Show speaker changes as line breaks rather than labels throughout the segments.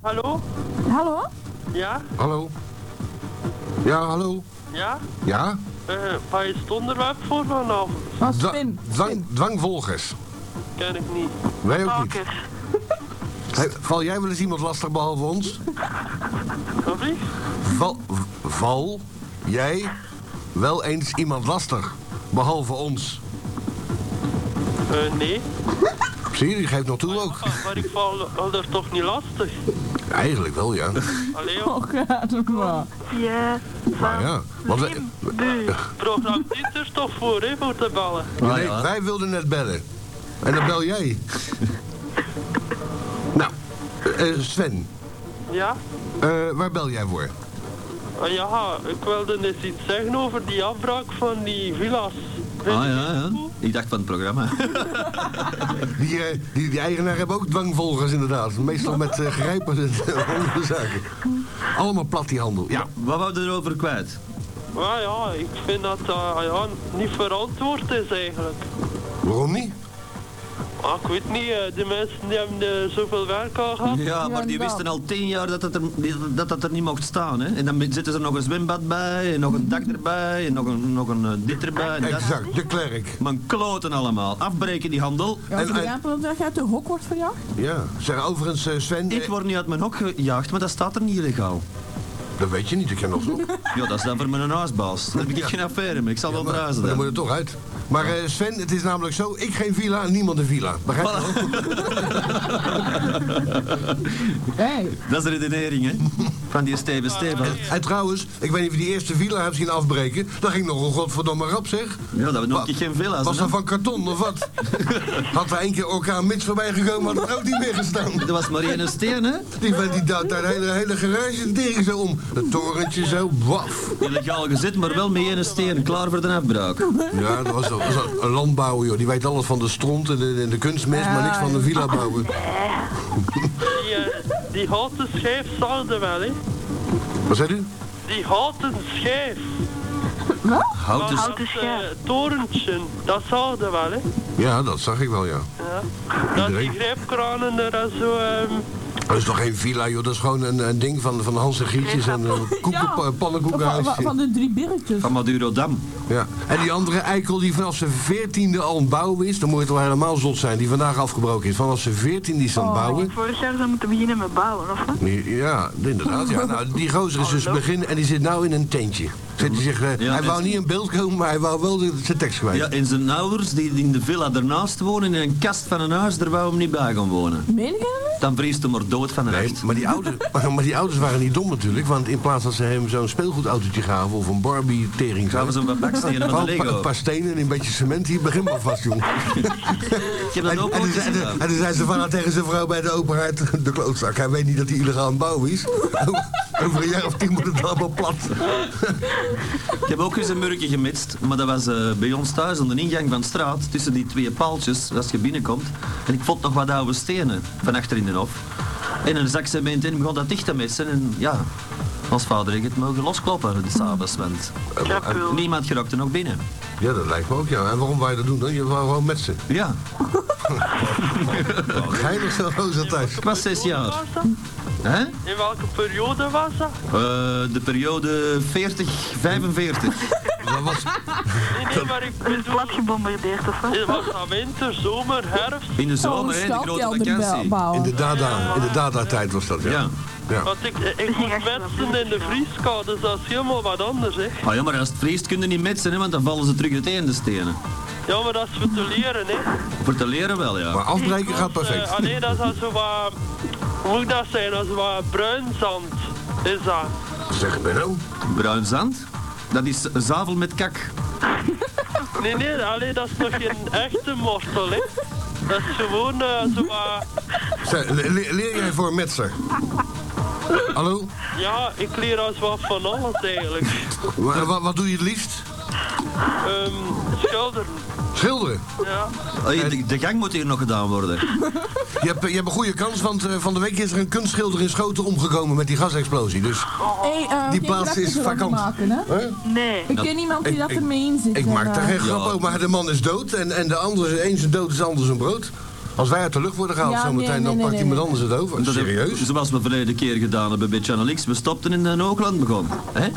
Hallo?
Hallo?
Ja?
Hallo? Ja, hallo?
Ja?
Ja?
Eh, wat is het onderwerp voor vanavond?
Oh,
Dwa-
spin.
dwang, dwangvolgers.
Ken ik niet.
Wij ook niet.
Pakkers.
Hey, val jij wel eens iemand lastig behalve ons?
Wat is?
Val, val jij wel eens iemand lastig behalve ons?
Eh, nee. Ah,
Zie je, die geeft nog toe ook.
Maar, maar ik val al daar toch niet lastig.
Eigenlijk wel, ja.
Allee, joh.
Oh, gaat het maar.
Ja,
Maar Ah, ja, want wij,
Programma dit er toch voor, hè, voor te ballen.
nee, wij wilden net bellen. En dan bel jij. nou, eh, Sven,
Ja?
eh, waar bel jij voor?
Ah, ja, ik wilde net iets zeggen over die afbraak van die villa's. Weet
Ah
je
ja, ja.
dat goed?
Ik dacht van het programma.
Die, eh, die, die eigenaar hebben ook dwangvolgers inderdaad. Meestal met eh, grijpers en andere zaken. Allemaal plat die handel. Ja,
Wat wou je erover kwijt?
Ah, ja, ik vind dat dat ah, ja, niet verantwoord is eigenlijk.
waarom niet?
Ah, ik weet niet, eh, die mensen die hebben eh, zoveel werk al gehad.
Ja, maar die
inderdaad.
wisten al tien jaar dat dat er, die- dat dat er niet mocht staan. Hè? En dan zetten ze nog een zwembad bij, en nog een dak erbij, en nog een, nog een eh, dit erbij. En dat.
Exact, de klerk.
Man kloten allemaal. Afbreken die handel.
Ja, als
En-
je
en-
rapen dat je uit de hok wordt verjaagd?
Ja, zeg overigens eh, Sven,
Ik
eh,
word niet uit mijn hok gejaagd, maar dat staat er niet legaal.
dat weet je niet, ik ken nog zo.
Ja, dat is dan voor mijn huisbaas. Daar heb ik geen affaire mee. Ik zal wel verhuizen
dan moet
dan.
het toch uit. Maar eh, Sven, het is namelijk zo, ik geen villa en niemand een villa. Begrijp je wel?
Hey.
Dat is de redenering, hè? Van die Steven Steven.
En trouwens, ik weet niet of je die eerste villa hebt zien afbreken. Dat ging nog een godverdomme rap zeg.
Ja, dat we nog een keer geen villa's.
Was
hè?
dat van karton of wat? Had er één keer orkaan Mits voorbij gekomen, had het ook niet meer gestaan.
Dat was Marianne Steen, hè?
Die vent die duwt daar de hele, hele garage en tering zo om. Het torentje zo, waf.
Illegaal gezet, maar wel met ene steen. Klaar voor de afbraak.
Ja, dat was, dat was een landbouwer, joh. Die weet alles van de stront en de, en de kunstmest, maar niks van de villa bouwen.
Die, eh, die houten schijf zouden wel, hè.
Wat zei u?
Die houten schijf.
Houd dus...
Houten
dat,
schijf.
eh, torentje, dat zouden wel, hè.
Ja, dat zag ik wel, ja.
Ja. Dat die
Iedereen.
grijpkranen er en zo... ehm,
Dat is toch geen villa, joh. Dat is gewoon een, een ding van, van Hans en Grietjes en eh, koeken,
Ja.
pa-
Van, van-
pannenkoekenhuisje.
van de drie birretjes.
Van Maduro Dam.
Ja. En die andere eikel die vanaf zijn veertiende al aan het bouwen is, dan moet het wel helemaal zot zijn, die vandaag afgebroken is. Vanaf zijn veertiende is aan
Oh,
het bouwen.
vorig jaar zou moeten beginnen met bouwen, of wat?
Ja, inderdaad. Ja. Nou, die gozer is dus begin en die zit nou in een tentje. Zit hij zich, eh,
Ja,
hij wou
en-
niet in beeld komen, maar hij wou wel de- zijn tekst kwijt.
Ja, en zijn ouders die in de villa ernaast wonen, in een kast van een huis, daar wou hem niet bij gaan wonen.
Meen je dat niet?
Dan vriest hem maar dood van de
Nee,
recht.
maar die, ouders, maar, maar die ouders waren niet dom natuurlijk, want in plaats dat ze hem zo'n speelgoedautootje gaven of een Barbie-tering,
Gaan we
zo-
zo'n wat bakstenen van
gewoon
de
een pa- een
Lego.
paar stenen en een beetje cement hier, begin maar vast, jongen.
Ik heb
En, en,
dat ook al
toen zei-
gezien.
en,
ja.
toen zei zijn vader tegen zijn vrouw bij de openheid, de klootzak, hij weet niet dat hij illegaal aan het bouwen is. Over een jaar of tien moet het allemaal plat.
Ik heb ook eens een murkje gemist, maar dat was eh, bij ons thuis aan de ingang van de straat, tussen die twee paaltjes, als je binnenkomt. En ik vond nog wat oude stenen van achter in de hof. En een zak cement in, begon dat dicht te missen. En ja, ons vader heeft het mogen loskloppen, de s'avonds, want
Eh,
niemand geraakte nog binnen.
Ja, dat lijkt me ook, ja. En waarom wij dat doen dan? Je wou gewoon met ze.
Ja,
Geinig zo gozer thuis.
ik was zes jaar.
was dat?
Hè?
In welke periode was dat?
Eh, de periode 40-45.
Dat was,
Nee, nee, maar ik
Is het
bedoel...
plat gebombardeerd, of wat?
eh, Was dat winter, zomer, herfst?
In de
Oh,
Zo'n
zomer, hè, de grote
stelkelder
vakantie.
in
bouwen.
de dada, in de dada-tijd was dat, ja.
Ja.
ja.
Want ik, ik
ging
moet
echt wel
mensen in de
vliegen, ja.
vrieskade, dus dat is helemaal wat anders, hè.
Ah ja, maar als het vriest kun je niet metsen, hè, want dan vallen ze terug uiteen, de stenen.
Ja, maar dat is voor te leren, hè.
Voor te leren wel, ja.
Maar afbreken gaat perfect.
Eh, alleen dat is als zo wat... Hoe moet dat zijn? Als wat bruin zand is dat.
Zeg, Benno.
Bruin zand? Dat is zavel met kak.
Nee, nee, alleen dat is nog geen echte mortel, hè. Dat is gewoon eh, zo wat...
Zeg, le- le- leer jij voor metser? Hallo?
Ja, ik leer als wat van alles eigenlijk.
Wa- wa- wat doe je het liefst?
Ehm schilderen,
Schilderen.
ja.
Hey, de, de gang moet hier nog gedaan worden.
Je hebt, je hebt een goede kans, want eh, van de week is er een kunstschilder in Schoten omgekomen met die gasexplosie. Dus
Hey, eh,
Die
kun je
plaats
dat
is
ervan
vakant. Eh,
Maken, hè?
Nee.
Ik ken iemand die
ik-
dat
ik-
ermee in zit.
ik
en,
maak daar
eh,
geen grap
Ja.
over. Maar de man is dood en, en de andere is eens een dood, is anders een brood. Als wij uit de lucht worden gehaald
Ja,
zometeen,
nee,
dan
nee,
pakt
nee,
iemand
nee.
anders het over.
Dat heb-
Serieus?
zoals we verleden keer gedaan hebben bij Channel X. We stopten in een Oakland begon. Hè?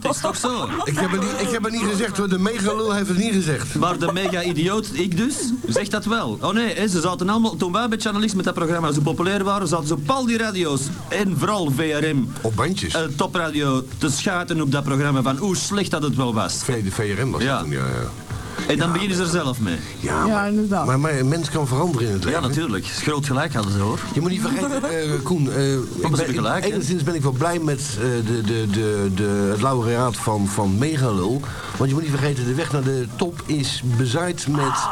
Het is toch zo?
Ik heb, het niet, ik heb het niet gezegd hoor, de megalul heeft het niet gezegd.
Maar de mega-idioot, ik dus, zegt dat wel. Oh nee, hè, ze zaten allemaal, toen wij bij Channel X met dat programma zo populair waren, zaten ze op al die radio's, en vooral VRM,
Op bandjes.
eh, topradio, te schaten op dat programma van hoe slecht dat het wel was.
V- de VRM was
Ja.
dat toen, ja. ja.
En dan beginnen ze er zelf mee.
Ja,
Ja,
maar,
inderdaad.
maar, maar een mens kan veranderen in het
Ja,
leven.
natuurlijk. Groot gelijk hadden ze hoor.
Je moet niet vergeten, eh, Koen. eh, ik
heb je
ben,
gelijk, hè?
enigszins ben ik wel blij met eh, de, de, de, de, het laureaat van, van Megalul. Want je moet niet vergeten, de weg naar de top is bezaaid met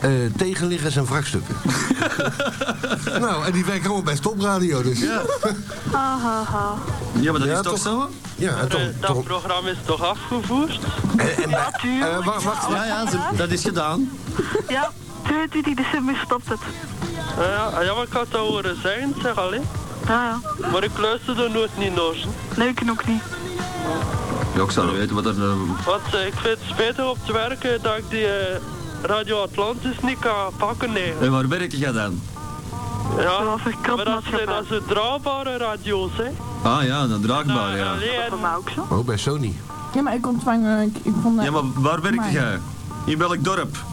eh, tegenliggers en wrakstukken. nou, en die werken allemaal bij Stopradio. Dus. Ja,
Ha, ha, ha.
Ja, maar dat
Ja,
is toch,
toch?
zo?
en toch.
Eh, dat
toch
programma is toch afgevoerd?
en, en,
Ja, tuurlijk.
eh, wacht, wacht.
Ja, ja, ze- dat is gedaan.
Ja, 22 december stopt het.
Eh, ja, ja, maar ik had dat horen zeggen, zeg alleen.
Ja, ja.
Maar ik luisterde nooit niet naar.
Leuk en ook niet.
Ja, ik zou weten wat er... eh,
Want eh, ik vind het beter op te werken dat ik die eh, Radio Atlantis niet kan pakken. Nee.
En waar werk jij dan?
Ja,
Zoals een
Ah, maar dat zijn
krapmaatschappij.
dat zijn draagbare radio's, hè.
Ah ja, dan draagbaar,
Nou,
ja.
allee, en-
Voor mij ook zo.
Oh, bij Sony.
Ja, maar ik ontvang... eh, Ik, ik vond, eh,
Ja, maar waar werk
Maar-
jij? In welk dorp?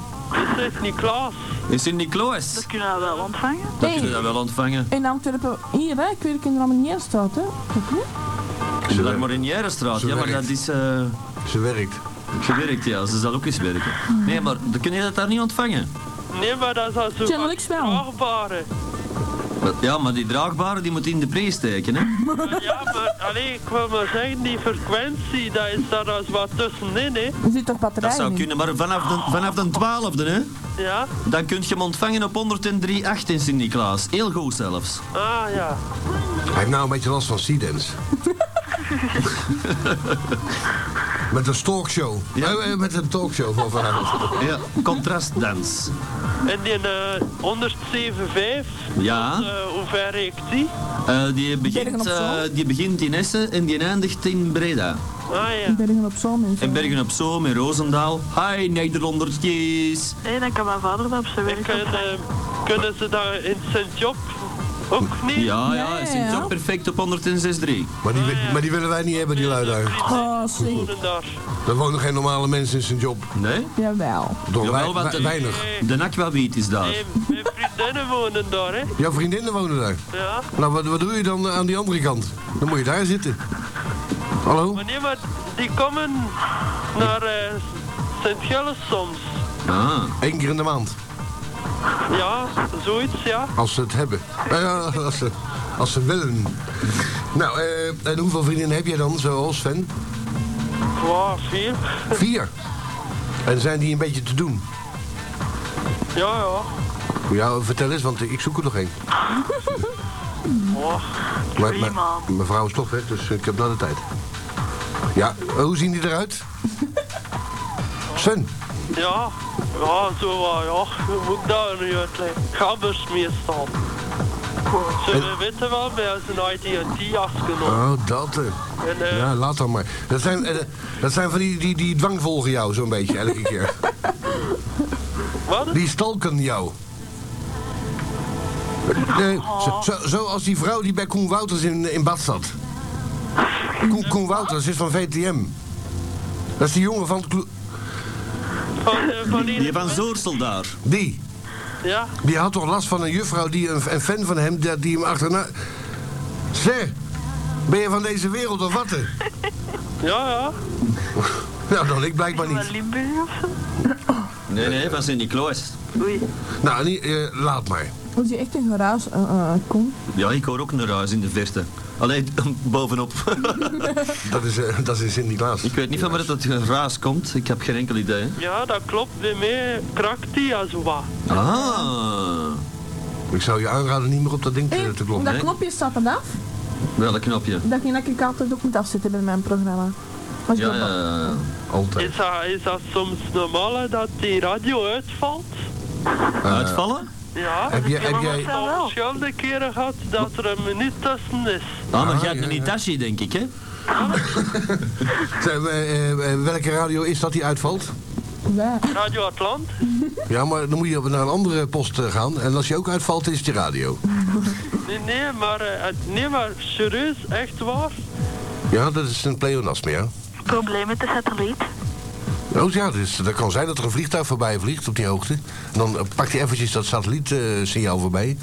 Dit is niet Klaas.
In Sint-Niklaas.
Dat kunnen we wel ontvangen.
Dat
Hey.
kun je dat wel ontvangen.
In Antwerpen... Hier, hè. Ik werk in de Ramoniërstraat, hè. Kijk, hè.
Ze werkt maar in Jarenstraat.
Ze
Ja, maar
werkt.
dat is eh,
Ze werkt.
gewerkt, ja. Ze zal ook eens werken. Nee, maar dan kun je dat daar niet ontvangen.
Nee, maar dat is al zo
Channel X wel.
draagbare.
Maar- Ja, maar die draagbare die moet in de prijs steken, hè.
Ja, maar alleen ik wil maar zeggen, die frequentie, daar is daar als wat tussenin, hè.
Er zit toch batterij
Dat zou
in?
kunnen, maar vanaf de, vanaf de 12e, hè.
Ja?
Dan kun je hem ontvangen op 103.8 in Sint-Niklaas. Heel goed zelfs.
Ah, ja.
Hij heeft nou een beetje last van Seedance. met een talkshow.
Ja.
Eh, eh, met een talkshow van vanavond.
Ja, contrastdans.
En die eh 107.5,
Ah.
Ja.
eh, hoe ver ik die?
Eh, die,
Bergen op
begint, eh,
Zoom?
die begint in Essen en die eindigt in Breda.
Ah, ja.
Ik ben hier op zo'n
En Bergen op Zoom en Roosendaal. Hi, Nederlandertjes.
Nee, dan kan mijn vader dat op zijn
En
werk
kun-
ontvangen.
eh, kunnen ze daar in Sint-Job ook niet?
Ja, ja,
Ja,
is het
ja.
ook perfect op 106.3.
Maar die, wi- maar die willen wij niet hebben, die lui daar.
Oh, zie.
Wonen daar.
Er wonen geen normale mensen in zijn job.
Nee?
Jawel.
Door
Jawel,
wei-
want
we-
de-
weinig.
De Aquavit is daar.
Nee, mijn vriendinnen wonen daar, hè.
Jouw vriendinnen wonen daar.
Ja.
Nou, wat, wat doe je dan aan die andere kant? Dan moet je daar zitten. Hallo?
Maar nee, maar die komen naar eh, Sint-Gilles soms.
Ah.
Eén keer in de maand.
Ja, zoiets, ja.
Als ze het hebben. Nou ja, als, ze, als ze willen. Nou, eh, en hoeveel vriendinnen heb jij dan, zoals Sven?
Wow, vier.
Vier. En zijn die een beetje te doen?
Ja, ja.
Ja, vertel eens, want ik zoek er nog één.
Wow.
Maar,
Prima.
maar- mijn vrouw is toch weg, dus ik heb nou de tijd. Ja, eh, hoe zien die eruit? Sven,
Ja, ja, zo wel, ja. Hoe Moet ik daar nu uitleggen? Gabbers meestal. Ze weten wel, wij zijn IDT afgenomen.
Oh, dat. eh.
En, eh,
ja, laat dan maar. Dat zijn, eh, dat zijn van die, die, die dwangvolgen jou zo'n beetje elke keer.
Wat?
Die stalken jou.
Oh.
Eh, zo- zo, zoals die vrouw die bij Koen Wouters in, in bad zat. Koen, Koen Wouters is van VTM. Dat is die jongen van... het klo-
Van, eh, van die-
Die van Zoorsel daar.
Die.
Ja,
Die had toch last van een juffrouw, die, een, een fan van hem, die, die hem achterna... Ster, ben je van deze wereld of wat? hè?
ja, ja.
Nou, dan ik blijkbaar
Van
niet.
Limburg of zo?
Nee, nee, van Sint-Niklaas.
Oei.
Nou, niet- eh, laat maar.
Als je echt een geraas eh, eh, komt...
Ja, ik hoor ook een ruis in de verte. Alleen bovenop.
Dat is, eh, dat is in Sint-Niklaas.
ik weet niet van waar dat ruis komt. Ik heb geen enkel idee.
Ja, dat klopt. Bij mij krakt die ja, zo wat.
Ah.
Ik zou je aanraden niet meer op dat ding te, te kloppen.
Eh, dat
hè?
knopje staat eraf.
Welk knopje?
Dat ik ik altijd ook moet afzetten bij mijn programma. Maar ik
Ja,
doe dat.
ja.
Altijd.
Is dat, is dat soms normaal hè, dat die radio uitvalt?
Uitvallen?
Ja.
Heb jij... Heb
Ja,
jij
Al
wel.
verschillende keren gehad dat er een minuut tussen is.
Ah, maar
Ah,
jij hebt
ja,
een
ja.
Hitachi, denk ik, hè?
zijn we, eh, eh, welke radio is dat die uitvalt?
Waar?
Radio Atlant?
Ja, maar dan moet je naar een andere post eh, gaan. En als je ook uitvalt, is het je radio.
Nee, nee, maar, eh, nee, maar serieus, echt waar?
Ja, dat is een pleonasme, ja.
Probleem met de satelliet.
Oh ja, dus dat kan zijn dat er een vliegtuig voorbij vliegt op die hoogte. En dan eh, pakt hij eventjes dat satellietsignaal voorbij.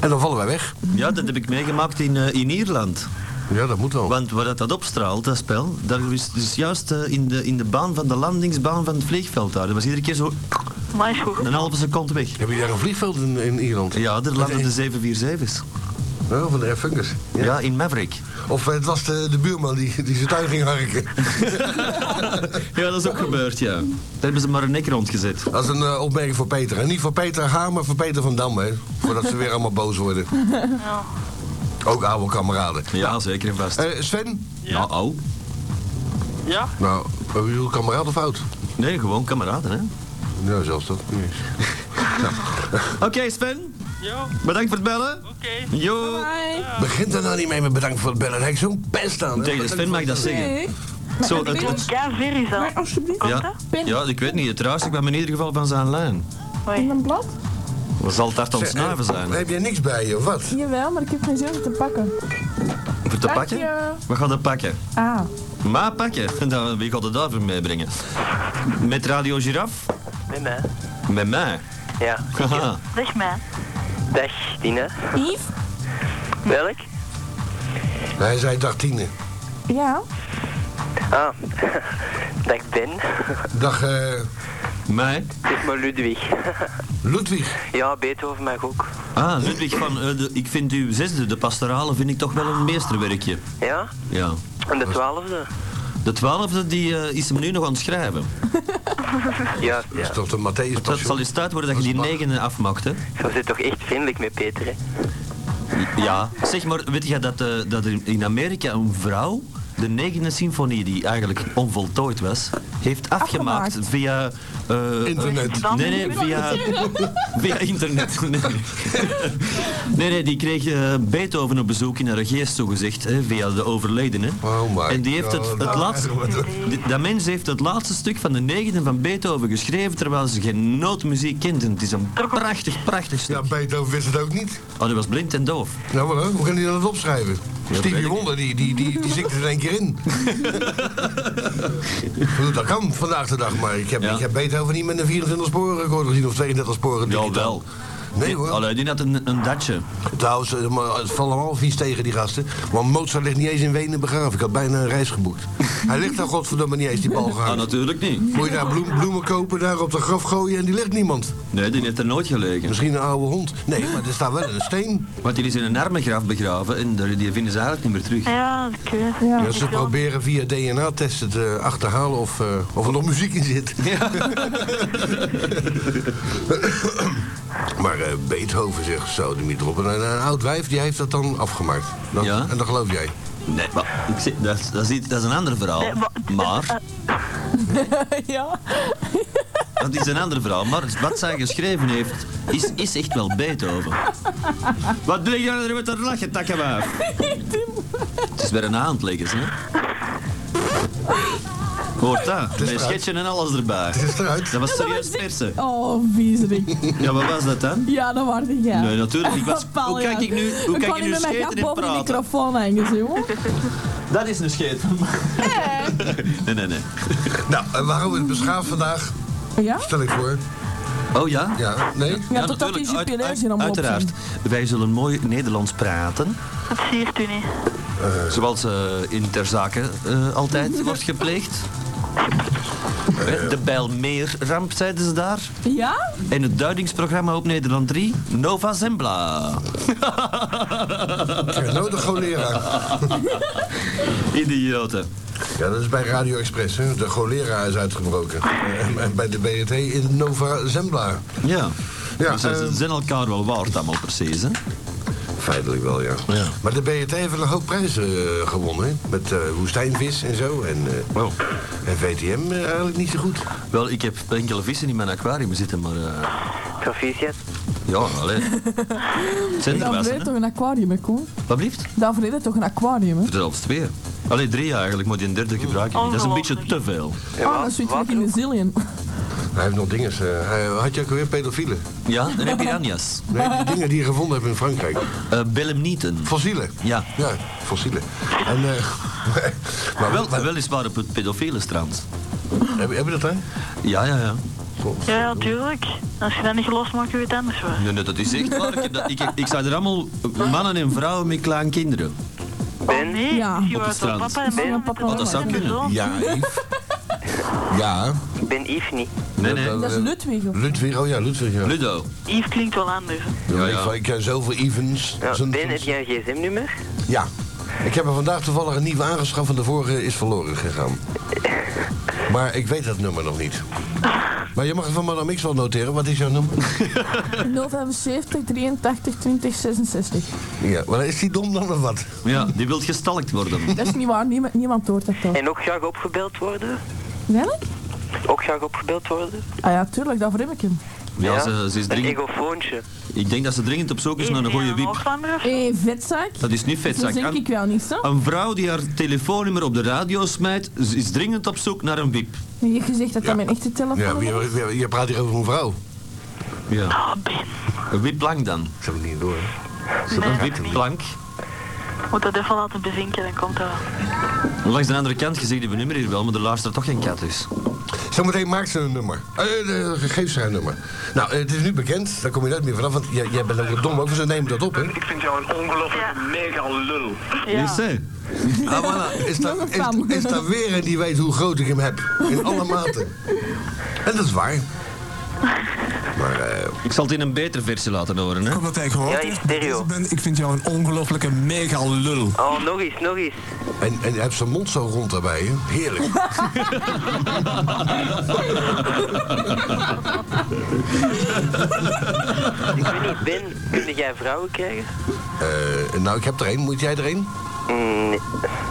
En dan vallen wij weg.
Ja, dat heb ik meegemaakt in, eh, in Ierland.
Ja, dat moet wel.
Want waar dat, dat opstraalt, dat spel, daar is dus juist eh, in, de, in de baan van de landingsbaan van het vliegveld daar. Dat was iedere keer zo
Maar is goed.
een halve seconde weg.
Heb je daar een vliegveld in, in Ierland?
Ja, er landen de 747's.
Ja, van de Air Funkers.
Ja, in Maverick.
Of eh, het was de, de buurman die, die zijn tuin ging harken.
Ja, dat is ook gebeurd, ja. Daar hebben ze maar een nek rondgezet.
Dat is een eh, opmerking voor Peter. En niet voor Peter H, maar voor Peter van Dam, hè. Voordat ze weer allemaal boos worden.
Ja.
Ook oude kameraden.
Ja, zeker en vast.
Eh, Sven?
Ja.
Nou, au.
Ja?
Nou, eh, bedoel kameraad of oud?
Nee, gewoon kameraden, hè.
Ja, zelfs dat.
Oké, Sven.
Ja,
Bedankt voor het bellen.
oké.
Jo.
Bye.
Begint daar nou niet mee met bedankt voor het bellen. Hij zo'n pest aan. hè.
Tegen de Sven mag ik dat zeggen.
Nee.
Zo, het, het-
Ja, weer is dat.
Maar alsjeblieft,
ja,
Pin.
ja, ik weet niet. Het ruist, ik ben in ieder geval van zijn lijn.
in
Hoi.
een blad?
We zal het hard aan het
Zeg, eh,
snuiven zijn.
Heb jij niks bij je, of wat?
Jawel, maar ik heb geen zin om te pakken.
Voor te
Dank
pakken?
je.
We gaan dat pakken.
Ah,
Maar pakken. En dan, wie gaat het daarvoor meebrengen? Met Radio Giraf?
Met mij.
Met mij.
Ja.
Haha.
Weg man.
Dag, Tina.
Yves?
Welk?
Hij zei dag Tine.
Ja?
Ah. Dag, Ben.
Dag eh,
Mij.
Zeg maar Ludwig.
Ludwig.
Ja, Beethoven mag ook.
Ah, Ludwig van, eh, de- ik vind uw zesde, de pastorale, vind ik toch wel een meesterwerkje.
Ja?
Ja.
En de twaalfde?
De twaalfde, die eh, is hem nu nog aan het schrijven.
Ja,
Dat is
ja.
toch de Matthäus
Dat zal eens tijd worden dat je die negende afmaakt, hè?
Zo zit toch echt vriendelijk met Peter, hè?
Ja. Zeg maar, weet je dat, eh, dat er in Amerika een vrouw de negende symfonie, die eigenlijk onvoltooid was, heeft afgemaakt,
Afgemaakt.
via... eh,
Internet.
Dan
Nee, nee, via, via internet. Nee, nee. nee, nee, die kreeg eh, Beethoven op bezoek in haar geest, zogezegd, hè, via de overledene.
Oh my
en die heeft het,
God.
het laatste... die- Dat mens heeft het laatste stuk van de negende van Beethoven geschreven, terwijl ze geen noot muziek kent. En het is een prachtig, prachtig stuk.
Ja, Beethoven wist het ook niet.
Oh, die was blind en doof.
Nou, wel, hè? hoe kan hij dat opschrijven?
weet
Stevie
ik
Wonder, die, die, die, die zingt er in één keer in. Ik bedoel, dat kan vandaag de dag, maar ik heb,
Ja.
ik heb Beethoven niet met een 24 sporen record gezien of 32 sporen. digitaal.
Jawel.
Nee hoor.
Allee, die had een, een datje.
Trouwens, eh, maar het valt allemaal vies tegen die gasten. Want Mozart ligt niet eens in Wenen begraven. Ik had bijna een reis geboekt. Hij ligt daar godverdomme niet eens, die bal
Ah,
gehaald.
natuurlijk niet.
Moet je daar bloem- bloemen kopen, daar op de graf gooien en die ligt niemand.
Nee, die heeft er nooit gelegen.
Misschien een oude hond. Nee, maar er staat wel een steen.
Want die is in een armengraf begraven en daar- die vinden ze eigenlijk niet meer terug.
Ja, ik weet het.
Ja.
Ja, ze proberen via DNA-testen te achterhalen of, eh, of er nog muziek in zit. maar eh, Beethoven zegt zo, de niet op. En een, een oud wijf die heeft dat dan afgemaakt. Dat-
Ja.
En dat geloof jij.
Nee, maar ik zeg, dat, is- dat, is, iets- dat is een ander verhaal.
Nee, maar-
maar...
ja?
Dat is een ander verhaal, maar wat zij geschreven heeft, is, is echt wel Beethoven. Wat doe je nou met dat lachen, takkenwaaf? Het is weer een aandleggers, hè? Hoort dat? Met schetsje en alles erbij.
Het is eruit.
Dat was serieus persen.
Oh, viezerik.
Ja, wat was dat dan?
Ja, dat was ik, ja.
Nee, natuurlijk. Ik was,
Paul,
hoe kijk
ja.
ik nu, hoe
Ik kon
kijk ik
niet
nu
met mijn gat
scheten in
boven die
praten?
microfoon hangen, jongen.
Dat is een scheet. Nee, nee, nee.
Nou, en waarom het beschaafd vandaag?
Ja?
Stel ik voor.
Oh ja?
Ja, nee?
Ja, tot dat is je
uit-
pileus
uit-
in allemaal
Uiteraard. Wij zullen mooi Nederlands praten.
Dat siert u niet.
Zoals eh, in ter zake eh, altijd wordt gepleegd. Eh, De Bijlmeerramp zeiden ze daar.
opzien. Ja?
En het duidingsprogramma op Nederland 3, Nova Zembla.
Ja, nodig cholera.
Idioten.
Ja, dat is bij Radio Express. Hè. De cholera is uitgebroken. Eh, En, en bij de BRT in Nova Zembla.
Ja.
Ja,
Dus ze- ze
eh,
zijn elkaar wel waard allemaal precies. Hè?
Feitelijk wel, ja.
Ja.
Maar de BRT heeft wel een hoop prijzen eh, gewonnen. Hè? Met eh, woestijnvis en zo. En, eh,
Wow.
en VTM eh, eigenlijk niet zo goed.
Wel, ik heb enkele vissen in mijn aquarium zitten, maar... eh,
Proficiat.
ja, alleen. Het zijn er
Dan
wel,
vreet
hè?
toch een aquarium, hè, Koen?
Wat blieft?
Dan vreet toch een aquarium, hè?
Zelfs twee. Alleen drie eigenlijk, maar die een derde gebruik ik niet. Dat is een beetje te veel.
En
Oh,
wa-
dat is zoiets
water
in de zillion.
Hij heeft nog dingen. eh, hij- had je ook weer pedofielen?
Ja, dan heb je Anjas.
Nee, die dingen die je gevonden hebt in Frankrijk.
Eh Belemnieten.
Fossielen.
Ja.
Ja, fossielen. En, eh, maar
Wel,
wel,
maar weliswaar op het pedofiele strand.
heb, je- heb je dat, hè?
Ja, ja, ja.
Ja, ja, tuurlijk. Als je dat niet gelost maakt, doe je het anders waar.
Nee, nee, dat is echt waar. Ik, heb dat, ik, ik zag er allemaal mannen en vrouwen met kleine kinderen.
Ben?
Oh, Nee,
Ja.
misschien
Op
was
het
dat
strand.
papa en mama
Oh,
met
papa
een
en
Oh, dat zou
zoon.
kunnen.
Ja, Yves. Ja.
Ik ben Yves niet.
Nee, nee.
Dat is Ludwig. of-
Ludwig, oh ja, Ludwig. Ja.
Ludo.
Yves klinkt wel anders. hè.
Ja,
Ja,
Ik,
ja.
ik ken zoveel Evens.
Ja,
Zo'n-
ben, heb jij een gsm-nummer?
Ja. Ik heb er vandaag toevallig een nieuwe aangeschaft, want de vorige is verloren gegaan. Maar ik weet dat nummer nog niet. Maar je mag het van Madame X wel noteren. Wat is jouw nummer?
075 83 20 66.
Ja, maar is die dom dan of wat?
Ja, die wil gestalkt worden.
Dat is niet waar, niemand, niemand hoort dat toch?
En ook graag opgebeld worden?
Wel?
Ook graag opgebeld worden?
Ah ja, tuurlijk, daarvoor heb ik hem.
Ja, ze, ze is
Een
dringend.
egofoontje.
Ik denk dat ze dringend op zoek is naar een goede wiep.
Hooglander of
Hé, hey, vetzak.
Dat is Oh. niet vet,
Dat
zeg.
denk
Een,
ik wel niet, zo.
een vrouw die haar telefoonnummer op de radio smijt, ze is dringend op zoek naar een wiep.
Je gezegd dat dat mijn echte
Ja,
telefoon
maar
is.
je, je- je praat hier over een vrouw.
Ja.
Ah, Ben.
Een wipplank dan.
Dat heb ik niet door. hè.
Een
Nee, dat
wipplank.
niet. Moet dat even laten bezinken, dan komt dat wel.
Langs de andere kant, je zegt die nummer hier wel, maar er luistert toch geen kat dus.
Zometeen maakt ze een nummer. Eh, eh, geef ze haar nummer. Nou, eh, het is nu bekend. Daar kom je nooit meer vanaf. Want jij, jij bent ook een dom over. Ze nemen dat op, hè?
Ik vind jou een ongelofelijke
Ja.
mega lul.
Ja.
Is ze?
Ah, voilà. Is daar,
Nog een
is,
fam.
is daar weer een die weet hoe groot ik hem heb. In alle maten. En dat is waar. Maar, eh,
Ik zal het in een betere versie laten horen, hè.
Ik heb dat hij gehoord
Ja,
heeft.
in stereo.
Ik ben- Ik vind jou een ongelofelijke mega lul.
Oh, nog eens, nog eens.
en, en hij heeft zijn mond zo rond daarbij, hè? Heerlijk.
Ik weet niet, Ben, kun jij vrouwen krijgen?
Eh, nou, ik heb er één. Moet jij er één?
Mm, nee.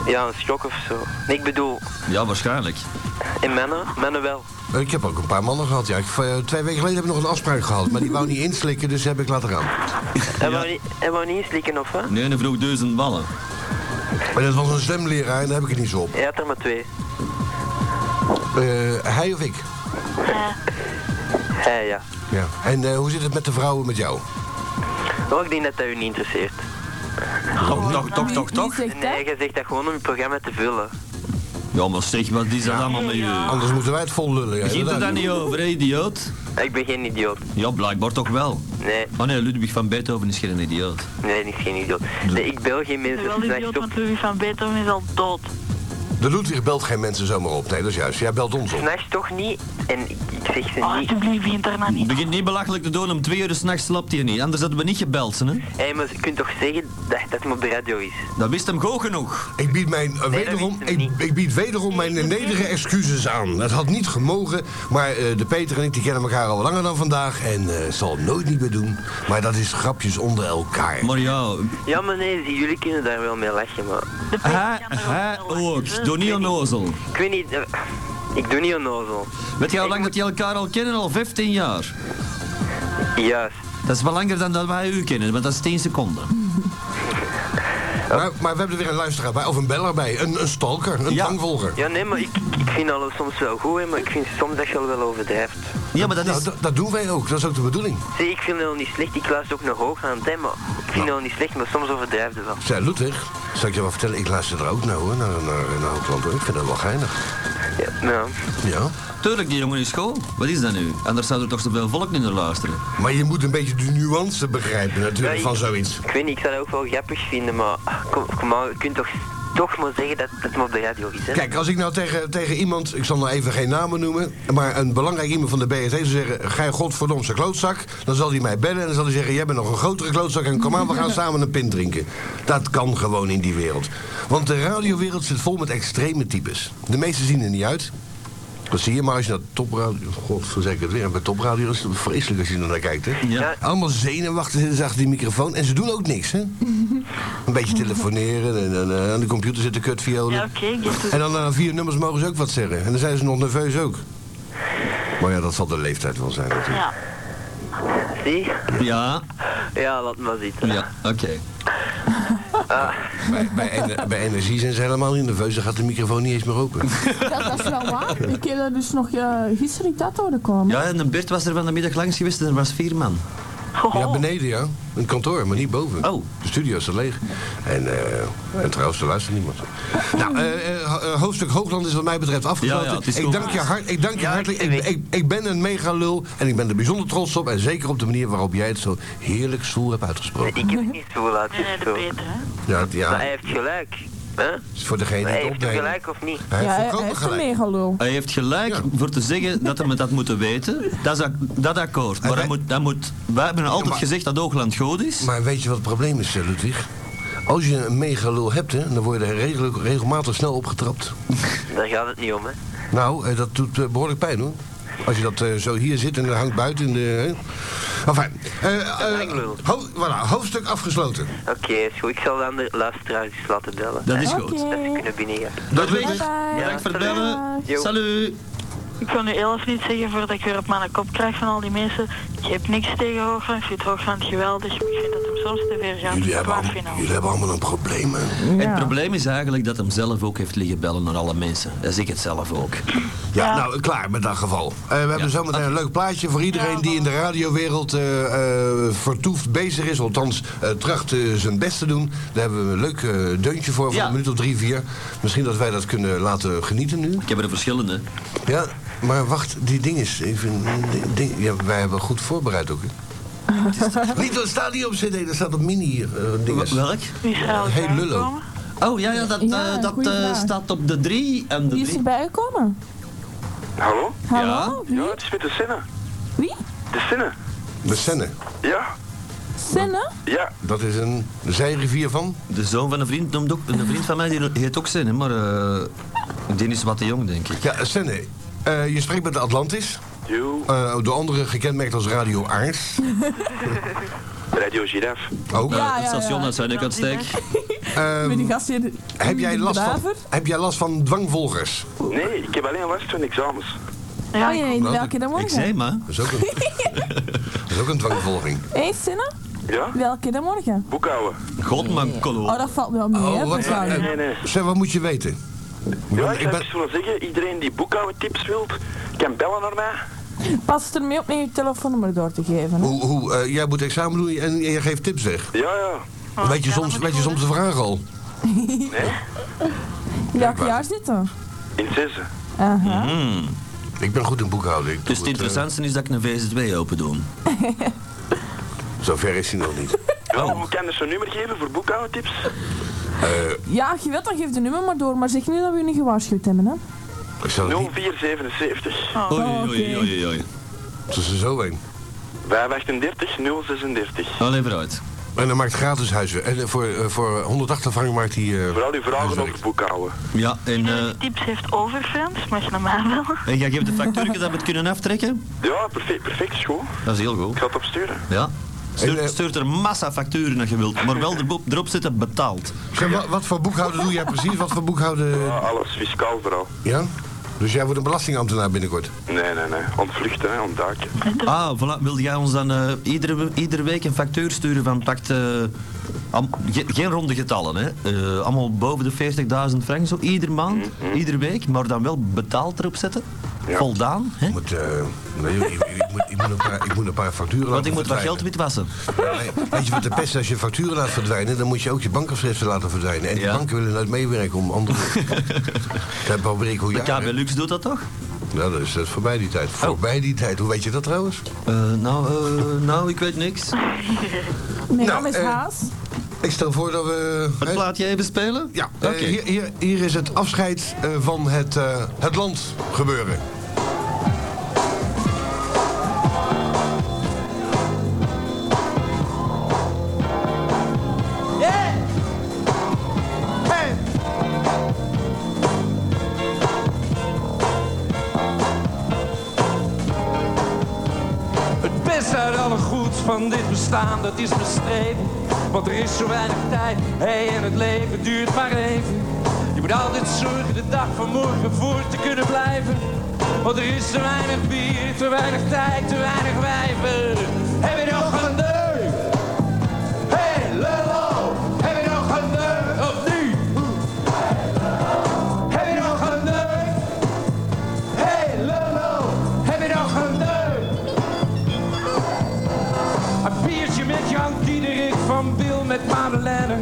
Ja, een schok of zo. Nee, ik bedoel,
Ja, waarschijnlijk.
in mannen, mannen wel.
Eh, Ik heb ook een paar mannen gehad, ja. Ik, eh, twee weken geleden heb ik nog een afspraak gehad. Maar die wou niet inslikken, dus heb ik laten gaan.
Hij wou niet- hij wou niet slikken of wat?
Nee, een vroeg duizend ballen.
Maar dat was een stemleraar en daar heb ik het niet zo op.
Hij had er maar twee.
Eh, hij of ik?
Hij, ja.
Ja. En eh, hoe zit het met de vrouwen met jou?
Oh, ik denk dat dat u niet interesseert.
Toch, toch, toch, toch,
Wie- wie
toch.
zegt
Nee,
dat?
jij zegt dat gewoon om je programma te vullen.
Ja, maar zeg, wat is dat allemaal met je?
Anders moeten wij het vol lullen. Ja,
Begint er
inderdaad.
dan niet over, hè, idioot?
Ik ben geen idioot.
Ja, blijkbaar toch wel.
Nee,
Oh nee, Ludwig van Beethoven is geen idioot.
nee, niet geen idioot. Nee, ik bel geen
Ik ben
mensen.
wel
s'nachts
idioot,
op.
want Louis van Beethoven is al dood.
De Ludwig belt geen mensen zomaar op. Nee, dat is juist. Jij belt ons op.
S'nachts toch niet. En ik, ik zeg ze
Oh,
niet.
alsjeblieft, begint daar nou niet.
Begint niet belachelijk te doen, om twee uur s'nachts slaapt hij niet. Anders hadden we niet gebeld, hè.
Hé, maar je kunt toch zeggen dat dat hem op de radio is?
Dat wist hem goed genoeg.
Ik bied, mijn, eh,
dat
wederom,
wist hem
ik,
niet.
ik bied wederom mijn nederige excuses aan. Dat had niet gemogen, maar eh, de Peter en ik die kennen elkaar al langer dan vandaag. En eh zal het nooit niet meer doen. Maar dat is grapjes onder elkaar.
Maar ja,
Ja, maar nee, zie, jullie kunnen daar wel mee lachen, maar...
De pers
hij,
kan er
hij
wel lachen,
ook.
hè.
Doe niet onnozel.
Ik weet niet... eh, ik doe niet onnozel.
Weet jij hoe lang dat je elkaar al kennen? Al 15 jaar.
Juist.
Dat is wel langer dan dat wij u kennen, want dat is 10 seconden.
Nou, Maar, maar we hebben er weer een luisteraar bij, of een beller bij. Een, een stalker, een
Ja.
dwangvolger.
Ja, nee, maar ik, ik vind alles soms wel goed, hè, maar ik vind soms dat je al wel overdrijft.
Ja, maar dat
Nou,
is...
dat- dat doen wij ook. Dat is ook de bedoeling.
Zie, ik vind het wel niet slecht. Ik luister ook naar Hoogland, hè, maar... Ik vind het wel niet slecht, maar soms overdrijft het wel.
Zij Ludwig, zal ik je wel vertellen, ik luister er ook naar hoor, naar, naar, naar Hoogland hoor. Ik vind dat wel geinig.
Ja, ja.
Ja.
Tuurlijk, die jongen is school. Wat is dat nu? Anders zou er toch zoveel volk niet naar luisteren.
Maar je moet een beetje de nuance begrijpen natuurlijk
Ja, ik-
van zoiets.
Ik weet niet, ik zou dat ook wel grappig vinden, maar... ah, Kom, kom maar, je kunt toch, toch maar zeggen dat dat het maar op de radio is, hè?
Kijk, als ik nou tegen, tegen iemand, ik zal nou even geen namen noemen, maar een belangrijk iemand van de BST zou zeggen, ga je godverdomse klootzak, dan zal hij mij bellen en dan zal hij zeggen, jij bent nog een grotere klootzak en kom aan, we gaan samen een pint drinken. Dat kan gewoon in die wereld. Want de radiowereld zit vol met extreme types. De meesten zien er niet uit. Dat zie je, maar als je naar topradio... Godverzeker het weer, en bij topradio is het vreselijk als je er naar kijkt, hè?
Ja.
Allemaal zenuwachtig zitten ze achter die microfoon en ze doen ook niks, hè? Een beetje telefoneren en, en, eh, aan de computer zitten kutviolen.
Ja, oké, ik get it.
En dan na vier nummers mogen ze ook wat zeggen. En dan zijn ze nog nerveus ook. Maar ja, dat zal de leeftijd wel zijn natuurlijk.
Ja.
Zie?
Ja,
Ja, laat maar zitten.
ja, oké.
Bij, bij, ener- bij energie zijn ze helemaal niet nerveus, dan gaat de microfoon niet eens meer open.
Dat, dat is wel waar. Ik heb daar dus nog eh, gisteren ik dat horen komen.
Ja, en de Bert was er van de middag langs geweest en er was vier man.
Ja, beneden ja. Een kantoor, maar niet boven.
Oh.
De studio staat leeg. En, eh, en trouwens, er luistert niemand. Nou, eh, eh, ho- eh, hoofdstuk Hoogland is wat mij betreft afgesloten.
Ja, ja, het is
ik,
goed.
dank je hart, ik dank je hartelijk. Ik, ik, ik ben een mega lul en ik ben er bijzonder trots op. En zeker op de manier waarop jij het zo heerlijk stoel hebt uitgesproken.
Ik heb het niet zo laat.
Nee, nee,
is
de
zo.
Peter, hè.
Ja,
Maar
ja
hij heeft gelijk. hè?
is Dus voor degene die
Hij
het
heeft hem
opneemt. Hij
gelijk of niet?
Ja,
heeft
hij
volkomen
heeft een
gelijk.
megalul.
Hij heeft gelijk
Ja.
voor te zeggen dat hij me dat moeten weten. Dat is ak- dat akkoord. Maar
wij-
dat moet, dat moet, wij hebben altijd
maar-
gezegd dat Oogland goed is.
Maar weet je wat het probleem is, eh, Ludwig? Als je een mega lul hebt, hè, dan word je er regel- regelmatig snel opgetrapt.
Daar gaat het niet om, hè?
Nou, eh, dat doet eh, behoorlijk pijn hoor. Als je dat eh, zo hier zit en dat hangt buiten in de. Hè. Enfin, eh, eh,
Een engelul.
ho- voilà, hoofdstuk afgesloten.
Oké, is goed. Ik zal aan de luisteraars eens laten bellen.
Dat is
Oké.
goed.
Dat ze kunnen binnengaan.
Dat weet
Bye
ik.
bye.
Bedankt voor het
salut.
bellen.
Jo.
Salut.
Ik kan nu heel even niet zeggen voordat ik weer op mijn kop krijg van al die mensen. Ik heb niks tegen Hoogland, ik vind Hoogland geweldig, maar ik vind dat hem soms te ver gaat.
Jullie hebben,
Waar
allemaal,
nou.
finaal.
jullie hebben allemaal een probleem. hè.
Het probleem is eigenlijk dat hem zelf ook heeft liggen bellen naar alle mensen. Dat is ik het zelf ook.
Ja,
Ja.
nou klaar met dat geval. Eh, we hebben zometeen een leuk plaatje voor iedereen die in de radiowereld eh, eh, vertoefd bezig is. Althans, eh, tracht eh, zijn best te doen. Daar hebben we een leuk eh, deuntje voor, van
Ja.
een minuut of drie, vier. Misschien dat wij dat kunnen laten genieten nu.
Ik heb er verschillende.
Ja, maar wacht, die ding is even... die Ding, ja, wij hebben goed voorbereid ook. Hè. niet, dat staat niet op cd, dat staat op mini eh dinges.
W- Welk?
Wie is er al
Hey, lullo.
aangekomen?
Oh ja, ja dat, eh,
Ja,
dat
goeie
eh,
vraag.
staat op de drie en de
Wie is
drie.
erbij gekomen?
Hallo?
Hallo?
Ja,
Wie?
het is met de Sinne.
Wie?
De Sinne?
De Senne,
Ja,
Sinne?
ja.
dat is een zijrivier van...
De zoon van een vriend, noemt ook, een vriend van mij die heet ook zin, hè, maar eh die is wat te jong, denk ik.
Ja, Senne, eh, je spreekt met de Atlantis.
Yo.
Eh, de andere gekenmerkt als Radio Aars.
Radio Giraffe.
Ook.
Eh,
Ja,
het
ja,
station
ja.
dat zijn ik aan het steek.
Ehm,
Met die gast hier.
heb, jij last van,
Draver?
heb jij last van dwangvolgers?
Nee, ik heb alleen last van examens.
Ja,
Oh
ik-
jee, welke dan
Ik
morgen?
zei
Hé
maar.
Dat is ook een, dat is ook een dwangvolging.
Sinne,
Ja?
welke dan morgen?
Boekhouden.
God, man, kolo.
Oh, dat valt wel mee, hè,
wat, eh,
mevrouw.
Nee, nee.
Zeg, wat moet je weten?
Ja,
ik
ik zou
ben-
eens willen zeggen, iedereen die boekhouden tips wilt, kan bellen naar mij.
Pas het ermee op met je telefoonnummer door te geven. hè.
Hoe, hoe, eh, jij moet examen doen en je geeft tips weg.
Ja, ja.
Oh,
weet je,
ja, dat
soms,
moet
weet je
goed,
soms de vraag al?
Welk jaar zit er?
In zessen.
Aha.
Ik ben goed in boekhouden. Ik doe
Dus het
eh,
interessantste is dat ik een VZW open doe.
Zover is hij nog niet.
Ja, hoe kan je zo'n dus nummer geven voor boekhouden tips?
Ja, je weet dan geef de nummer maar door, maar zeg niet dat we je niet gewaarschuwd hebben, hè?
Ik zal het niet
0477
Oei,
Oh, oké.
oei, oei, oei.
tussen zo heen.
538 036.
Allee, vooruit.
En dan maakt gratis huiswerk. En eh, voor, eh, voor 108 frank maakt hij... eh,
Vooral uw vragen
huiswerk.
over boekhouden.
Ja, en,
hè. Iedereen
eh
die Dus tips heeft over Frans, mag je naar mij bellen.
en jij geeft de factuurtje dat we het kunnen aftrekken?
Ja, perfect, perfect, is goed.
Dat is heel goed.
Ik ga het opsturen.
Ja.
En, eh,
Stuurt, stuurt er massa facturen als je wilt, maar wel erbo- erop zitten betaald.
Zeg, wa- wat voor boekhouden doe jij precies? Wat voor
Ja,
boekhouden...
Ah, alles fiscaal vooral.
Ja? Dus jij wordt een belastingambtenaar binnenkort?
Nee, nee, nee. Ontvluchten, hè, ontduiken.
Ah, voilà. Wilde jij ons dan eh, iedere, we- iedere week een factuur sturen van pakt... eh, am- ge- geen ronde getallen, hè. Eh, allemaal boven de 40.000 frank, zo. Iedere maand,
Mm,
iedere week, maar dan wel betaald erop zetten.
Ja.
Voldaan, hè.
Ik moet, eh, nee, ik, ik- ik moet, ik, moet een paar, ik moet een paar facturen
Want
laten
ik moet wat geld
verdwijnen.
witwassen.
Nee, Weet je wat de pest is? Als je facturen laat verdwijnen, dan moet je ook je bankafschriften laten verdwijnen. En die
Ja.
banken willen nooit meewerken om andere... dat probeer ik hoe
De
jij...
KB Lux doet dat toch?
Nou, dat is dat is voorbij die
Oh.
tijd. Voorbij die tijd. Hoe weet je dat trouwens?
Eh, nou, eh, nou, ik weet niks.
Mijn
Nou,
naam is
eh,
Haas.
Ik stel voor dat we...
Het plaatje even spelen?
Ja,
Oké.
eh, hier, hier, hier is het afscheid eh, van het, eh, het land gebeuren.
Het beste uit alle goeds van dit bestaan, dat is bestreven. Want er is zo weinig tijd, hey, en het leven duurt maar even. Je moet altijd zorgen de dag van morgen voor te kunnen blijven. Want er is te weinig bier, te weinig tijd, te weinig wijven. Heb je nog een deuk? Hey, lullo, heb je nog een deuk? Frank Diederik van Bill met Madeleine.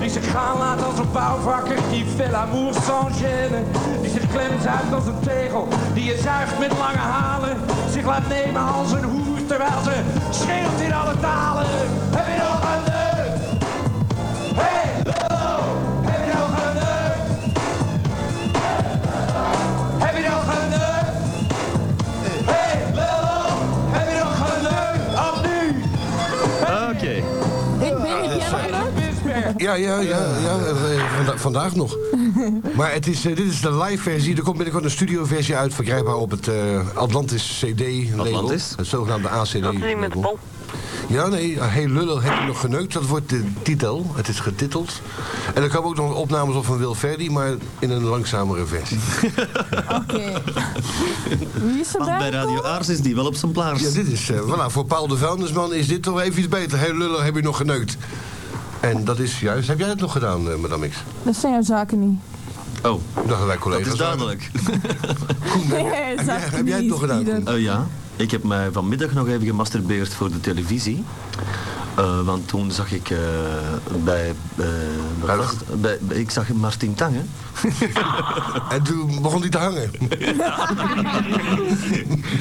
Die zich gaan laat als een bouwvakker, die fait l'amour sans gêne. Die zich klemt uit als een tegel, die je zuigt met lange halen. Zich laat nemen als een hoer, terwijl ze schreeuwt in alle talen. Heb je nog een deuk? Hey, lul, heb je nog een deuk? Heb je nog een deuk? Hey, lul, heb je nog een deuk? Af nu!
Ah, Oké.
Ik ben het jij
Ja, ja, ja, ja eh, vanda- vandaag nog. Maar het is, eh, dit is de live versie. Er komt binnenkort een studioversie uit, verkrijgbaar op het eh, Atlantis CD label.
Atlantis?
Het zogenaamde ACD.
Dat
Dus
is niet met
label.
Paul.
Ja, nee, hey lullo, heb je nog geneukt? Dat wordt de titel. Het is getiteld. En er komen ook nog opnames op van Wil Verdi, maar in een langzamere versie.
Oké. Wie is
Want bij
erbij?
Radio Aars is die wel op zijn plaats.
Ja, dit is, eh, voilà, voor Paul de Vuilnisman is dit toch even iets beter. Hey lullo, heb je nog geneukt? En dat is juist, heb jij het nog gedaan, eh, madame X?
Dat zijn jouw zaken niet.
Oh,
Dachten wij
dat
collega's.
is duidelijk.
Nee, zaken
heb jij het
niet,
nog gedaan,
Ieder.
Oh ja, ik heb mij vanmiddag nog even gemasturbeerd voor de televisie. Eh, want toen zag ik eh, bij, eh, wat was het? bij, bij- Ik zag Martin Tange.
En toen begon die te hangen.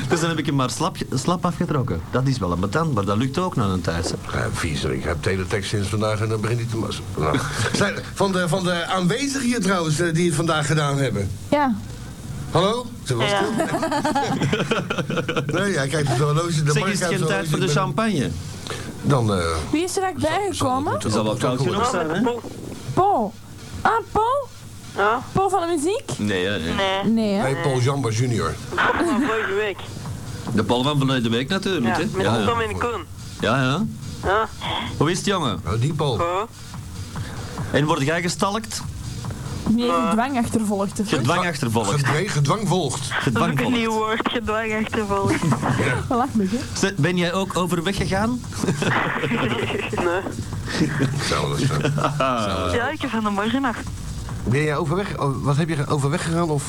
Dus dan heb ik hem maar slap, slap afgetrokken. Dat is wel een betand, maar dat lukt ook na een tijd. zeg.
Ja, viezer, ik heb teletext sinds vandaag en dan begint hij te massen. Nou. Zijn- Van de, van de aanwezigen hier trouwens, eh, die het vandaag gedaan hebben.
Ja.
Hallo? Ze was
Ja.
stil. Nee, ja, kijk, het horloge... De
Zeg, is het
markt
geen
uit
tijd voor de
horloge-
champagne?
Dan, eh,
Wie is er echt bijgekomen?
Het zal wel koud genoeg
Nou,
zijn,
met
hè?
de pol.
Paul. Ah, Paul?
Ja?
Paul van de muziek?
Nee, nee, nee.
Nee,
Nee, hè?
hey, Paul Jamba junior.
maar vorige week.
De bal van vanuit de week natuurlijk,
Ja,
hè?
met
Ja, ja.
Tom en Koen.
ja, ja.
Ja,
Hoe is het, jongen?
Nou, die Paul.
oh.
En word jij gestalkt?
Nee, dwang achtervolgd. of zo.
Gedwang achtervolgd.
Gedwee, gedwang volgt.
Dat is ook een nieuw
Gedwang
woord, gedwang achtervolgen.
Lachelijk, hè?
Ben jij ook overweg gegaan?
nee.
Hetzelfde is, eh.
Ja, ik heb van de morgen nog.
Ben jij overweg, o- wat heb je overweg gegaan of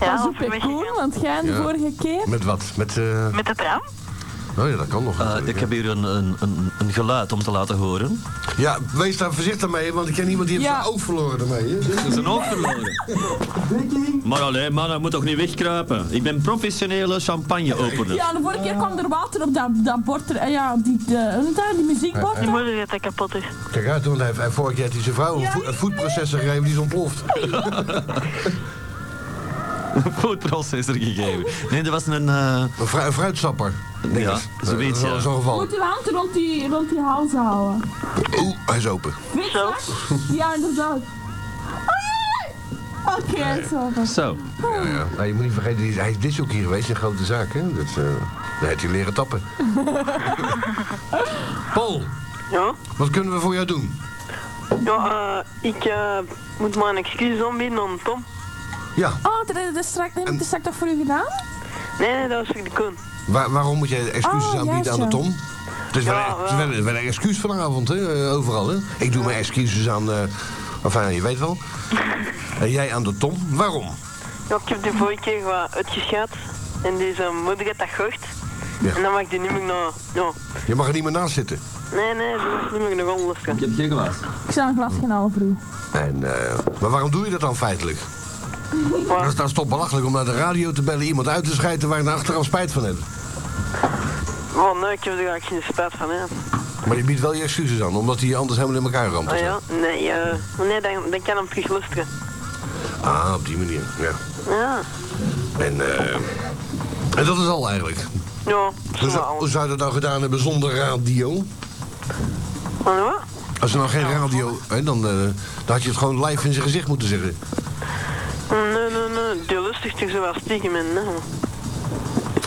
Ja,
Pas op,
of
hè, Koen,
weggegaan.
Ah, want jij de
Ja.
vorige keer...
met wat? Met, eh
Met de tram?
oh ja, dat kan nog.
Eh,
natuurlijk,
ik
hè.
heb hier een, een, een, een geluid om te laten horen.
Ja, wees daar voorzichtig mee, want ik ken iemand die heeft
Ja.
zijn oog verloren ermee. hè.
Dat is een oog verloren. Maar alleen, man, dat moet toch niet wegkruipen? Ik ben professionele champagneopener.
Ja, de vorige keer kwam er water op dat, dat bord. Er, eh, ja, op die, de, hoe noemt dat? die muziekbord.
Die moeder dat dat kapot is.
Kijk uit, want hij heeft hij vorig jaar heeft hij zijn vrouw een, vo- een voetprocessor gegeven die is ontploft.
Foodprocessor gegeven. Nee, dat was een... eh,
Een, fru- een fruitsapper. denk
Ja,
ik.
zoiets,
Eh, zo-
ja.
Zo'n geval.
Moet uw hand rond die, rond die hals houden.
Oeh, hij is open.
Weet je
Zo?
wat? Ja, inderdaad. Oh, jee, jee. Oké, zo.
Zo.
Oh.
Ja, ja. Nou, je moet niet vergeten, die- hij is dit ook hier geweest, een grote zaak. Hè? Dat, eh daar heeft hij leren tappen. Paul,
Ja?
wat kunnen we voor jou doen?
Ja, eh, ik eh, moet maar een excuus aanbieden aan Tom.
Ja,
Oh, dat is straks, heb ik dat straks toch voor u gedaan?
Nee, nee, dat was voor de Koen.
waar- waarom moet jij excuses
Oh,
aanbieden
juist,
aan de
ja.
Tom? Het is wel,
Ja,
een- het is wel, een- wel een excuus vanavond, hè? eh, overal. Hè? Ik doe mijn excuses aan, eh enfin, je weet wel. En jij aan de Tom, waarom?
Ja, ik heb de vorige keer wat uitgeschaat. En deze moeder had dat gehoord.
Ja.
En dan mag ik die niet meer naar... Ja.
Je mag er niet meer naast zitten.
Nee, nee, ze was niet meer naar anders gaan.
heb geen geluid.
Ik zou een glas gaan halen voor u.
En, eh, maar waarom doe je dat dan feitelijk? Dat is, dat is toch belachelijk om naar de radio te bellen, iemand uit te schijten waar je nou achteraf spijt van hebt.
Oh nee, ik heb er eigenlijk geen spijt van, hè.
Maar je biedt wel je excuses aan, omdat hij je anders helemaal in elkaar ramt. of
Ah
Oh
zo.
ja? Nee, eh, nee, dan, dan kan hem terug luisteren.
Ah, op die manier, ja.
Ja.
En, eh, en dat is al eigenlijk.
Ja,
Hoe
zo wel
zou, hoe
alles.
zou je dat nou gedaan hebben zonder radio?
Maar wat?
Als er nou geen radio, hè, dan, eh, dan had je het gewoon live in zijn gezicht moeten zeggen.
Nee, nee, nee, die lustigt er zo wel stiekem in, hè.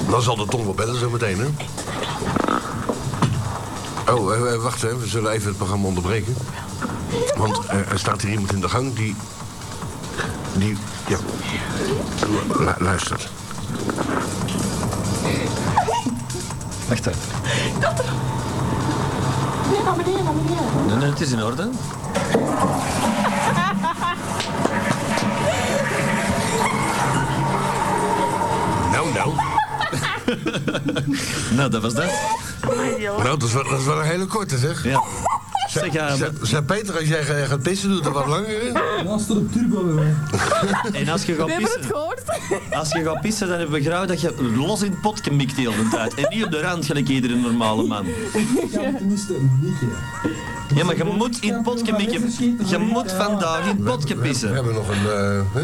Dan zal de tong wel bellen zo meteen, hè? Oh, eh, eh, wacht, hè. we zullen even het programma onderbreken. Want eh, er staat hier iemand in de gang die... Die... Ja. Lu- lu- luistert.
Wacht even.
Nee, naar beneden, naar beneden.
Nee, nee, het is in orde.
Nou, nou. nou.
Nou, dat was dat.
Maar
Nou, dat is, wel, dat is wel een hele korte, zeg.
Ja.
Zeg, zeg Peter, als jij eh, gaat pissen, doet dat wat langer.
Naast op turbo.
En als je gaat
We hebben het
pissen,
gehoord.
als je gaat pissen dan heb ik graag dat je los in het pot gemikt heel de tijd. En niet op de rand gelijk iedere normale man.
Ik kan tenminste mikken.
Ja, maar je moet in het potje mikken. Je moet vandaag in het potje
We
pissen.
hebben nog een. eh, hè?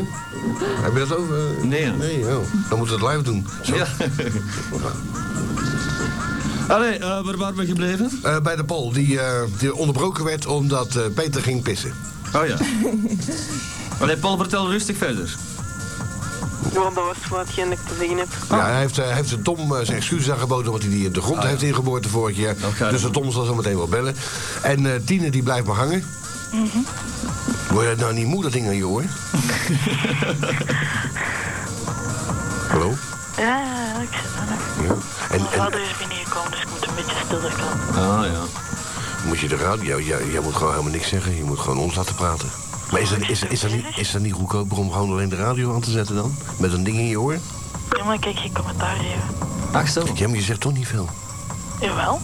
Heb je dat over?
Nee.
Nee, oh. dan moeten we het live doen. Zo.
Ja. Allee, eh, waar waren we gebleven?
Eh, bij de pol, die, eh, die onderbroken werd omdat eh, Peter ging pissen.
Oh ja. Allee, Paul, vertel rustig verder.
Want dat was wat ik te zeggen heb.
Ja, hij heeft, eh, hij heeft de Tom eh, zijn excuses aangeboden omdat hij die in de grond heeft ingeboord vorig jaar.
Oké.
Dus de Tom zal zo meteen wel bellen. En eh, Tine die blijft maar hangen. Mhm. Word je nou niet moe dat ding aan je hoor? Hallo?
Ja, ja, ja, ik zit er nog.
Ja. En,
Mijn
en
vader is binnengekomen, dus ik moet een beetje stiller gaan.
Ah ja.
moet je de radio... Jij, jij moet gewoon helemaal niks zeggen. Je moet gewoon ons laten praten. Maar is dat, is, is dat, niet, is dat niet goedkoper om gewoon alleen de radio aan te zetten dan? Met een ding in je oor?
Ja, maar kijk, geen commentaar geven.
Ach zo.
Ja, maar je zegt toch niet veel.
Jawel.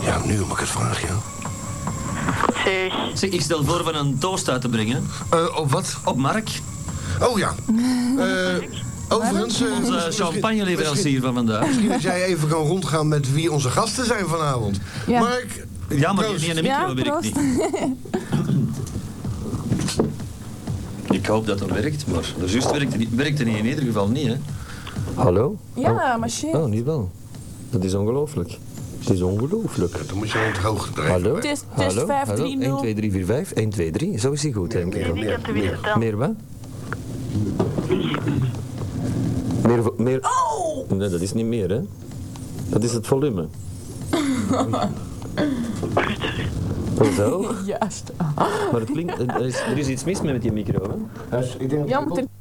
Ja, nu mag ik het vragen, ja.
Zeg,
Zeg, ik stel voor van een toast uit te brengen.
Eh, op wat?
Op Mark,
Oh ja. Eh, overigens... eh,
onze
misschien-
champagne-leverancier van vandaag.
Misschien dat jij even kan rondgaan met wie onze gasten zijn vanavond.
Ja.
Mark,
Ja, maar
Proost.
niet in de
Ja,
micro werkt
proost.
niet. Ik hoop dat dat werkt, maar de juist werkte niet, werkte niet in ieder geval niet, hè.
Hallo?
Ja, maar shit.
Oh, niet wel. Dat is ongelooflijk. Het is ongelooflijk.
eh, dan moet je aan het hoog drijven.
Hallo?
Test- test
Hallo?
530.
Hallo? 1, 2, 3, 4, 5. 1, 2, 3. Zo is hij goed, denk ik.
die
meer,
kant te weer
meer.
vertellen.
Meer wat? Meer... vo- meer...
Oh!
Nee, dat is niet meer, hè. Dat is het volume. Zo,
Juist.
maar het klinkt, er is, er is iets mis met die micro. Hè?
Dus ik denk
Ja, maar er